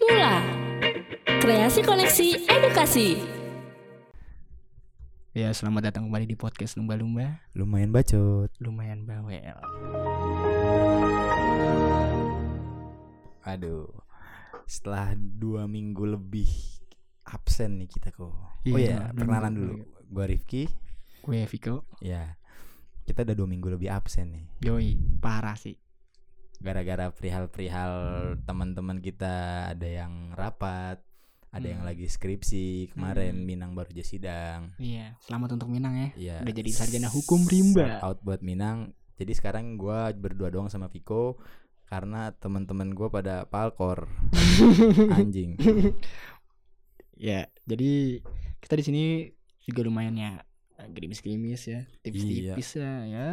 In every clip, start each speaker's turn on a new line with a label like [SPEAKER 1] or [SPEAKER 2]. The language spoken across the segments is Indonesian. [SPEAKER 1] Mula. Kreasi koneksi edukasi.
[SPEAKER 2] Ya, selamat datang kembali di podcast Lumba-Lumba
[SPEAKER 3] Lumayan bacot.
[SPEAKER 2] Lumayan Bawel
[SPEAKER 3] Aduh. Setelah dua minggu lebih absen nih kita kok. oh
[SPEAKER 2] Iya,
[SPEAKER 3] iya,
[SPEAKER 2] dua
[SPEAKER 3] perkenalan
[SPEAKER 2] minggu.
[SPEAKER 3] dulu. Gua Rifki.
[SPEAKER 2] Gue Viko
[SPEAKER 3] Ya. Kita udah dua minggu lebih absen nih.
[SPEAKER 2] Yoi, parah sih
[SPEAKER 3] Gara-gara perihal-perihal
[SPEAKER 2] Hmm.
[SPEAKER 3] teman-teman kita ada yang rapat, ada yang
[SPEAKER 2] Hmm.
[SPEAKER 3] lagi skripsi kemarin
[SPEAKER 2] Hmm.
[SPEAKER 3] Minang baru aja sidang.
[SPEAKER 2] Iya, selamat untuk Minang ya
[SPEAKER 3] Ya.
[SPEAKER 2] Udah jadi sarjana hukum rimba.
[SPEAKER 3] shout Out buat Minang. Jadi sekarang gua berdua doang sama Viko karena teman-teman gua pada palkor anjing.
[SPEAKER 2] Ya, jadi kita di sini juga lumayan ya Gerimis-gerimis ya, tipis-tipis ya, ya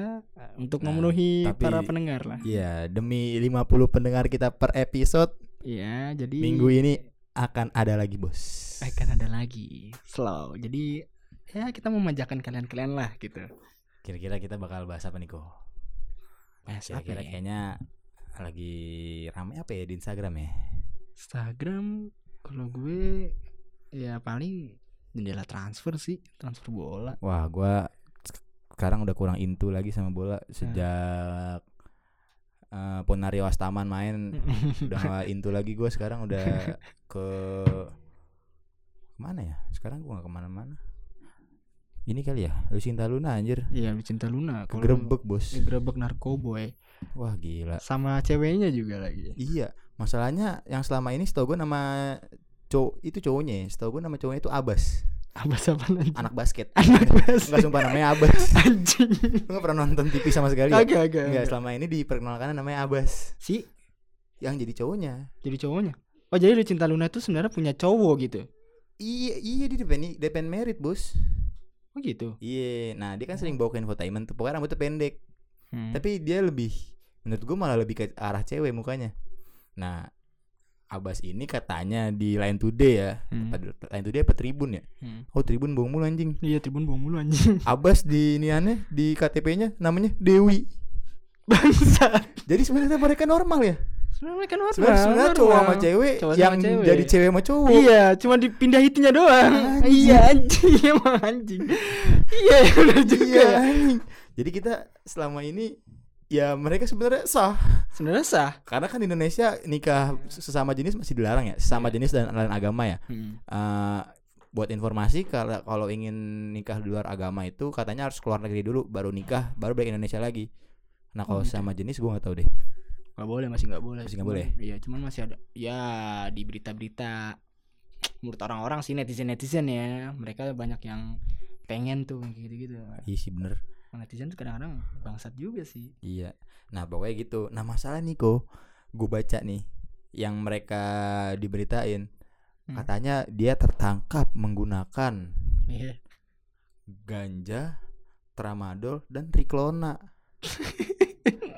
[SPEAKER 2] Untuk
[SPEAKER 3] Nah,
[SPEAKER 2] memenuhi
[SPEAKER 3] tapi-
[SPEAKER 2] para pendengar lah
[SPEAKER 3] Iya, demi 50 pendengar kita per episode
[SPEAKER 2] Iya, Eh, kan- jadi
[SPEAKER 3] minggu ini akan ada lagi, Bos.
[SPEAKER 2] akan ada lagi Slow, jadi ya kita memajakan kalian-kalian lah gitu
[SPEAKER 3] Kira-kira kita bakal bahas apa nih, Ko?
[SPEAKER 2] Bahas apa ya?
[SPEAKER 3] Kira-kira kayaknya lagi rame apa ya di Instagram ya?
[SPEAKER 2] Instagram kalau gue ya paling jendela transfer sih transfer bola
[SPEAKER 3] Wah, gua sek- sekarang udah kurang intu lagi sama bola sejak
[SPEAKER 2] Hmm.
[SPEAKER 3] eh, Ponario Astaman main udah gak intu lagi gue sekarang udah ke mana ya sekarang gua gak kemana-mana ini kali ya Lucinta Luna anjir
[SPEAKER 2] Iya cinta Luna kalau-
[SPEAKER 3] kegerebek bos
[SPEAKER 2] Kegerebek narkoboy
[SPEAKER 3] Wah
[SPEAKER 2] eh.
[SPEAKER 3] gila.
[SPEAKER 2] sama ceweknya juga lagi
[SPEAKER 3] Iya, masalahnya yang selama ini setahu gue nama cowok itu cowoknya, ya. setahu gue nama cowoknya itu Abbas,
[SPEAKER 2] apa sama nanti
[SPEAKER 3] anak basket.
[SPEAKER 2] anak
[SPEAKER 3] Enggak
[SPEAKER 2] basket
[SPEAKER 3] sumpah namanya Abbas.
[SPEAKER 2] anjing
[SPEAKER 3] Enggak pernah nonton TV sama sekali. ya?
[SPEAKER 2] agak agak
[SPEAKER 3] Enggak, selama ini diperkenalkan namanya Abbas
[SPEAKER 2] si
[SPEAKER 3] yang jadi cowoknya.
[SPEAKER 2] jadi cowoknya oh jadi cinta Luna itu sebenarnya punya cowok gitu
[SPEAKER 3] Iya, iya dia depend, depend merit, Bos.
[SPEAKER 2] oh gitu
[SPEAKER 3] Iya, nah dia kan sering bawa ke infotainment tuh, pokoknya rambutnya pendek.
[SPEAKER 2] Hmm.
[SPEAKER 3] Tapi dia lebih menurut gue malah lebih ke arah cewek mukanya. Nah, Abbas ini katanya di Line Today ya.
[SPEAKER 2] Hmm.
[SPEAKER 3] Padahal Line Today apa Tribun ya?
[SPEAKER 2] Hmm.
[SPEAKER 3] Oh Tribun bohong mulu anjing
[SPEAKER 2] iya tribun bong mulu anjing
[SPEAKER 3] Abbas di niannya di KTP-nya namanya Dewi
[SPEAKER 2] bangsa
[SPEAKER 3] Jadi sebenarnya mereka normal ya
[SPEAKER 2] sebenarnya kan normal
[SPEAKER 3] Sebenarnya sebenarnya cowok
[SPEAKER 2] normal.
[SPEAKER 3] sama cewek
[SPEAKER 2] Cowok sama
[SPEAKER 3] Yang
[SPEAKER 2] cewek.
[SPEAKER 3] jadi cewek sama cowok
[SPEAKER 2] Iya, cuma dipindah itunya doang.
[SPEAKER 3] Anjing.
[SPEAKER 2] Iya, anjing emang anjing. Iya, udah juga.
[SPEAKER 3] Iya, anjing. Jadi kita selama ini Ya mereka sebenarnya sah
[SPEAKER 2] Sebenarnya sah.
[SPEAKER 3] Karena kan di Indonesia nikah sesama jenis masih dilarang ya Sesama
[SPEAKER 2] Iya.
[SPEAKER 3] jenis dan lain agama ya Eh, Buat informasi kalau kalau ingin nikah di luar agama itu Katanya harus keluar negeri dulu Baru nikah baru balik Indonesia lagi Nah kalau
[SPEAKER 2] Oh, gitu.
[SPEAKER 3] sesama jenis gua gak tahu deh
[SPEAKER 2] Gak boleh, masih gak boleh.
[SPEAKER 3] Masih nggak
[SPEAKER 2] Cuman-
[SPEAKER 3] boleh?
[SPEAKER 2] Iya, cuman masih ada. Ya, di berita-berita menurut orang-orang sih netizen-netizen ya, mereka banyak yang pengen tuh kayak gitu-gitu. Nah,
[SPEAKER 3] Iya sih bener
[SPEAKER 2] Netizen tuh kadang-kadang bangsat juga sih.
[SPEAKER 3] Iya. Nah, pokoknya gitu. Nah, masalah nih kok gue baca nih yang mereka diberitain
[SPEAKER 2] Hmm.
[SPEAKER 3] katanya dia tertangkap menggunakan
[SPEAKER 2] Iya.
[SPEAKER 3] ganja, tramadol dan triklona.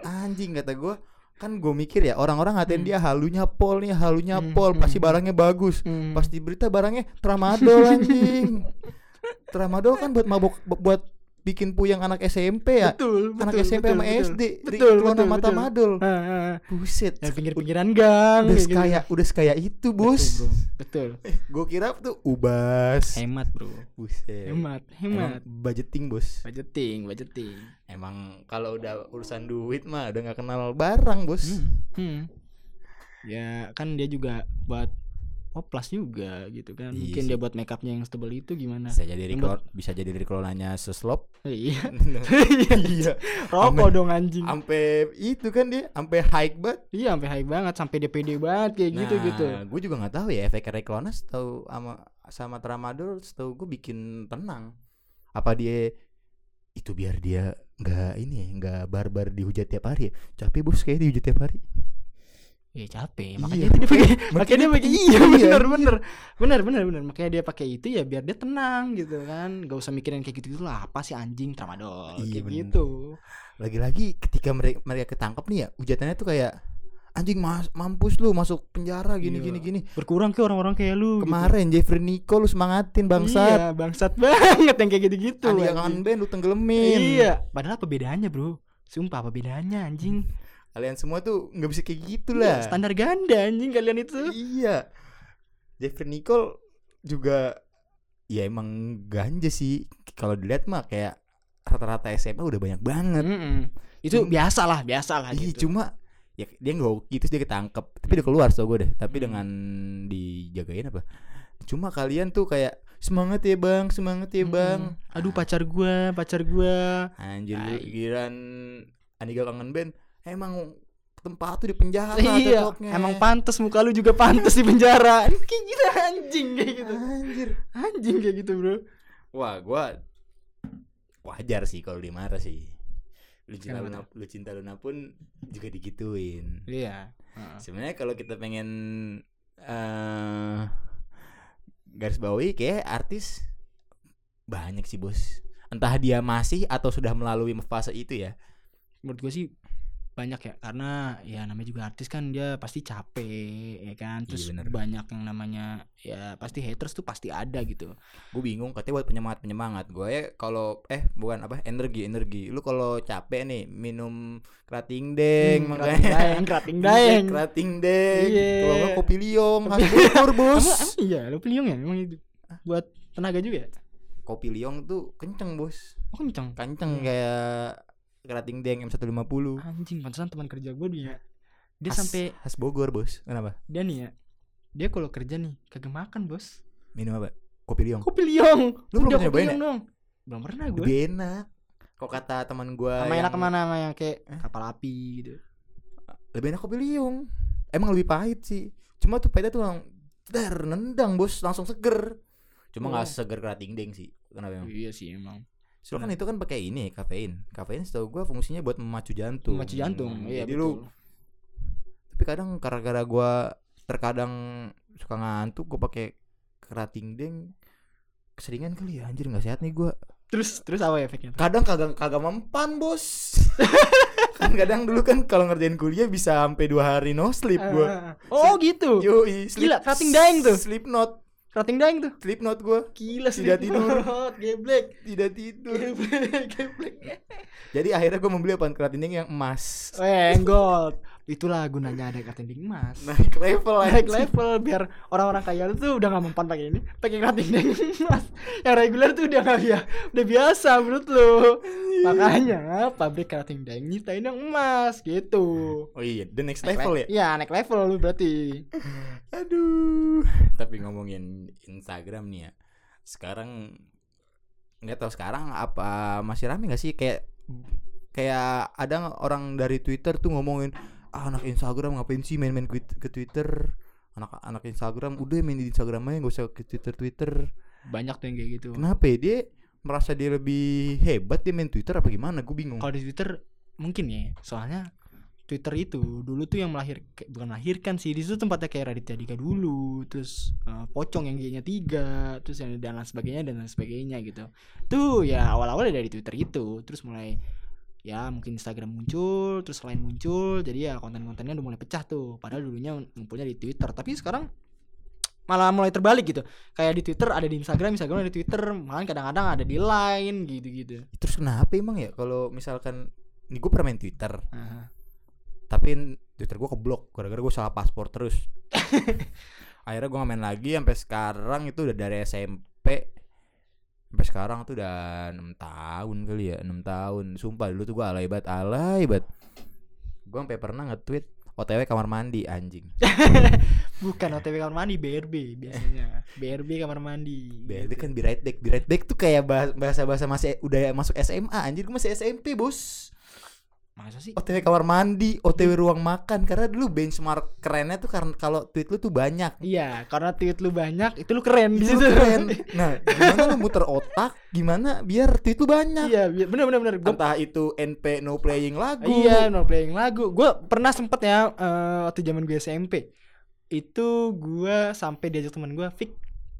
[SPEAKER 3] Anjing kata gue kan gue mikir ya orang-orang ngatain
[SPEAKER 2] Hmm.
[SPEAKER 3] dia halunya pol nih halunya
[SPEAKER 2] Hmm,
[SPEAKER 3] pol pasti
[SPEAKER 2] hmm.
[SPEAKER 3] barangnya bagus
[SPEAKER 2] Hmm.
[SPEAKER 3] pas di berita barangnya tramadol anjing tramadol kan buat mabok buat bikin puyeng anak SMP ya
[SPEAKER 2] betul, betul,
[SPEAKER 3] anak SMP
[SPEAKER 2] betul,
[SPEAKER 3] sama
[SPEAKER 2] betul.
[SPEAKER 3] SD
[SPEAKER 2] Betul,
[SPEAKER 3] triklona
[SPEAKER 2] betul,
[SPEAKER 3] mata
[SPEAKER 2] betul.
[SPEAKER 3] madol
[SPEAKER 2] Ah, ah, ah.
[SPEAKER 3] buset
[SPEAKER 2] Ya, pinggir-pinggiran gang
[SPEAKER 3] udah
[SPEAKER 2] kayak gitu.
[SPEAKER 3] sekaya udah sekaya itu bos
[SPEAKER 2] Betul, bro. betul.
[SPEAKER 3] gue kira tuh ubas
[SPEAKER 2] Hemat, Bro.
[SPEAKER 3] buset
[SPEAKER 2] Hemat, hemat.
[SPEAKER 3] Emang budgeting bos
[SPEAKER 2] budgeting budgeting
[SPEAKER 3] emang kalau udah urusan duit mah udah nggak kenal barang bos
[SPEAKER 2] Hmm. ya kan dia juga buat oplas juga gitu kan
[SPEAKER 3] Iya
[SPEAKER 2] mungkin
[SPEAKER 3] sih.
[SPEAKER 2] dia buat make upnya yang tebel itu gimana
[SPEAKER 3] bisa jadi dari
[SPEAKER 2] Emang-
[SPEAKER 3] klon- bisa jadi dari klonanya seslop
[SPEAKER 2] iya
[SPEAKER 3] iya
[SPEAKER 2] rokok
[SPEAKER 3] Amin.
[SPEAKER 2] dong anjing
[SPEAKER 3] sampai itu kan dia sampai high banget
[SPEAKER 2] iya sampai high banget sampai DPD banget kayak gitu gitu
[SPEAKER 3] gue juga nggak tahu ya efek reklona tahu sama sama tramadol setahu gue bikin tenang apa dia itu biar dia nggak ini ya, nggak barbar dihujat tiap hari ya. capek bos kayak dihujat tiap hari
[SPEAKER 2] ya capek
[SPEAKER 3] Iya,
[SPEAKER 2] makanya dia pakai makanya dia pakai iya
[SPEAKER 3] iya,
[SPEAKER 2] bener bener bener bener bener makanya dia pakai itu ya biar dia tenang gitu kan gak usah mikirin kayak gitu gitu lah apa sih anjing tramadol
[SPEAKER 3] Iya,
[SPEAKER 2] kayak
[SPEAKER 3] bener.
[SPEAKER 2] gitu
[SPEAKER 3] lagi-lagi ketika mereka mereka ketangkep nih ya hujatannya tuh kayak anjing mas, mampus lu masuk penjara gini
[SPEAKER 2] Iya.
[SPEAKER 3] gini gini
[SPEAKER 2] berkurang ke orang-orang kayak lu gitu.
[SPEAKER 3] kemarin Jeffrey Nico lu semangatin
[SPEAKER 2] Iya,
[SPEAKER 3] bangsat
[SPEAKER 2] bangsat banget yang kayak gitu-gitu.
[SPEAKER 3] Andi
[SPEAKER 2] anjing.
[SPEAKER 3] kangen band lu tenggelemin
[SPEAKER 2] Iya, padahal apa bedanya, Bro? Sumpah apa bedanya anjing?
[SPEAKER 3] kalian semua tuh nggak bisa kayak gitu
[SPEAKER 2] Iya,
[SPEAKER 3] lah
[SPEAKER 2] Standar ganda anjing kalian itu.
[SPEAKER 3] Iya. Jeffrey Nicole juga ya emang ganja sih kalau dilihat mah kayak rata-rata SMA udah banyak banget.
[SPEAKER 2] Iya. Mm-mm. Itu
[SPEAKER 3] Cuma-
[SPEAKER 2] biasalah, biasalah
[SPEAKER 3] Ih,
[SPEAKER 2] Hmm. gitu.
[SPEAKER 3] cuma ya dia nggak gitu dia ketangkep tapi udah keluar so gue deh tapi
[SPEAKER 2] Hmm.
[SPEAKER 3] dengan dijagain apa cuma kalian tuh kayak semangat ya bang semangat ya bang
[SPEAKER 2] Mm-mm. eh, Aduh pacar gua, pacar gua.
[SPEAKER 3] anjir
[SPEAKER 2] Ay.
[SPEAKER 3] giran Andika kangen band emang tempat tuh di penjara
[SPEAKER 2] iya,
[SPEAKER 3] cocoknya.
[SPEAKER 2] emang pantas muka lu juga pantas di penjara. Kayak gitu anjing kayak gitu.
[SPEAKER 3] anjir
[SPEAKER 2] Anjing kayak gitu, Bro.
[SPEAKER 3] wah gue wajar sih kalau dimarah sih lu cinta
[SPEAKER 2] Kenapa
[SPEAKER 3] luna, lu cinta luna pun juga digituin
[SPEAKER 2] Iya. Heeh.
[SPEAKER 3] Sebenarnya kalau kita pengen eh garis bawahi kayak artis banyak sih bos. Entah dia masih atau sudah melalui fase itu ya.
[SPEAKER 2] menurut gue sih banyak ya karena ya namanya juga artis kan dia pasti capek ya kan terus
[SPEAKER 3] bener.
[SPEAKER 2] banyak yang namanya ya pasti haters tuh pasti ada gitu
[SPEAKER 3] Gue bingung katanya buat penyemangat penyemangat. Gue ya kalau eh bukan apa energi energi. Lu kalau capek nih minum kerating
[SPEAKER 2] Hmm,
[SPEAKER 3] deng makanya.
[SPEAKER 2] daeng kerating daeng
[SPEAKER 3] Kerating deng.
[SPEAKER 2] Iya.
[SPEAKER 3] Kalau nggak kopi liong khas Bogor,
[SPEAKER 2] Kamu-
[SPEAKER 3] bos.
[SPEAKER 2] emang iya lu peliung ya memang itu buat tenaga juga ya?
[SPEAKER 3] kopi liong tuh kenceng bos.
[SPEAKER 2] oh kenceng
[SPEAKER 3] Kenceng kayak kerating deng M150.
[SPEAKER 2] anjing pantesan teman kerja gue dia dia
[SPEAKER 3] Khas-
[SPEAKER 2] sampai
[SPEAKER 3] khas Bogor bos kenapa
[SPEAKER 2] dia nih ya dia kalau kerja nih kagak makan bos
[SPEAKER 3] minum apa kopi liong
[SPEAKER 2] kopi liung
[SPEAKER 3] Lu belum
[SPEAKER 2] Udah, kopi
[SPEAKER 3] pernah nyobain
[SPEAKER 2] liung dong ya? belum pernah gue
[SPEAKER 3] lebih enak kok kata teman gua
[SPEAKER 2] sama
[SPEAKER 3] yang-
[SPEAKER 2] enak kemana sama yang kayak
[SPEAKER 3] Eh?
[SPEAKER 2] kapal api gitu
[SPEAKER 3] lebih enak kopi liong emang lebih pahit sih cuma tuh pahitnya tuh lang dar nendang bos langsung seger cuma nggak
[SPEAKER 2] Oh.
[SPEAKER 3] seger kerating ding sih kenapa emang
[SPEAKER 2] iya sih emang
[SPEAKER 3] soalnya kan itu kan pakai ini kafein kafein setahu gua fungsinya buat memacu jantung
[SPEAKER 2] memacu jantung
[SPEAKER 3] Hmm,
[SPEAKER 2] iya
[SPEAKER 3] jadi
[SPEAKER 2] betul.
[SPEAKER 3] lu tapi kadang gara-gara gua terkadang suka ngantuk gua pakai kerating ding keseringan kali ya anjir nggak sehat nih gua
[SPEAKER 2] Terus terus apa efeknya?
[SPEAKER 3] kadang kagak kagak mempan bos kan kadang dulu kan kalau ngerjain kuliah bisa sampai dua hari no sleep gua
[SPEAKER 2] oh gitu.
[SPEAKER 3] yoi sleep,
[SPEAKER 2] Gila, cutting dying tuh.
[SPEAKER 3] sleep not
[SPEAKER 2] Rating daeng tuh.
[SPEAKER 3] sleep not gua
[SPEAKER 2] Gila
[SPEAKER 3] Tidak tidur.
[SPEAKER 2] Geblek. Iya.
[SPEAKER 3] tidak tidur
[SPEAKER 2] Geblek. Geblek.
[SPEAKER 3] jadi akhirnya gua membeli apaan keratin yang emas
[SPEAKER 2] Ah. Enggol. Itulah gunanya ada cutting daeng mas.
[SPEAKER 3] naik level
[SPEAKER 2] Naik
[SPEAKER 3] naik
[SPEAKER 2] level biar orang-orang kaya lu tuh udah gak mempan pakai ini, pakai cutting daeng mas. Yang reguler tuh udah gak biasa, udah biasa menurut lu. Makanya pabrik cutting daeng nyiptain yang emas gitu.
[SPEAKER 3] oh iya the next
[SPEAKER 2] Naik
[SPEAKER 3] level
[SPEAKER 2] le-
[SPEAKER 3] ya
[SPEAKER 2] Iya, naik level lu berarti.
[SPEAKER 3] aduh tapi ngomongin Instagram nih ya sekarang nggak tahu sekarang apa masih rame nggak sih kayak kayak ada nggak orang dari Twitter tuh ngomongin ah, anak Instagram ngapain sih main-main ke ke Twitter anak anak Instagram udah main di Instagram aja gak usah ke Twitter Twitter
[SPEAKER 2] Banyak tuh yang kayak gitu.
[SPEAKER 3] kenapa ya? dia merasa dia lebih hebat dia main Twitter apa gimana gue bingung
[SPEAKER 2] kalau di Twitter mungkin ya soalnya Twitter itu dulu tuh yang melahir ke- bukan melahirkan sih di situ tempatnya kayak Raditya Dika dulu terus eh, pocong yang gayanya tiga terus yang dan lain sebagainya dan lain sebagainya gitu tuh ya awal-awalnya dari Twitter itu terus mulai ya mungkin Instagram muncul terus lain muncul jadi ya konten-kontennya udah mulai pecah tuh padahal dulunya ngumpulnya di Twitter tapi sekarang malah mulai terbalik gitu kayak di Twitter ada di Instagram Instagram ada di Twitter malah kadang-kadang ada di Line gitu-gitu
[SPEAKER 3] terus kenapa emang ya kalau misalkan ini gue pernah main Twitter
[SPEAKER 2] Aha.
[SPEAKER 3] tapi Twitter gue keblok gara-gara gue salah paspor terus akhirnya gue main lagi sampai sekarang itu udah dari SMP sampai sekarang tuh udah enam tahun kali ya enam tahun sumpah dulu tuh gue alay banget alay banget gue sampai pernah nge-tweet OTW kamar mandi anjing
[SPEAKER 2] Bukan OTW kamar mandi, BRB biasanya. BRB kamar mandi.
[SPEAKER 3] BRB kan be right back be right back tuh kayak bahasa bahasa masih udah masuk SMA anjir gue masih SMP bos
[SPEAKER 2] Masa sih?
[SPEAKER 3] OTW kamar mandi OTW ruang makan karena dulu benchmark kerennya tuh karena kalau tweet lu tuh banyak
[SPEAKER 2] Iya, karena tweet lu banyak, itu lu keren di
[SPEAKER 3] Itu
[SPEAKER 2] situ.
[SPEAKER 3] keren. Nah, gimana lu muter otak gimana biar tweet lu banyak.
[SPEAKER 2] Iya, bi- bener bener bener. Gua,
[SPEAKER 3] Entah itu NP no playing lagu.
[SPEAKER 2] iya, no playing lagu. Gue pernah sempet ya eh, waktu zaman gue SMP. Itu gue sampai diajak teman gue, Fik,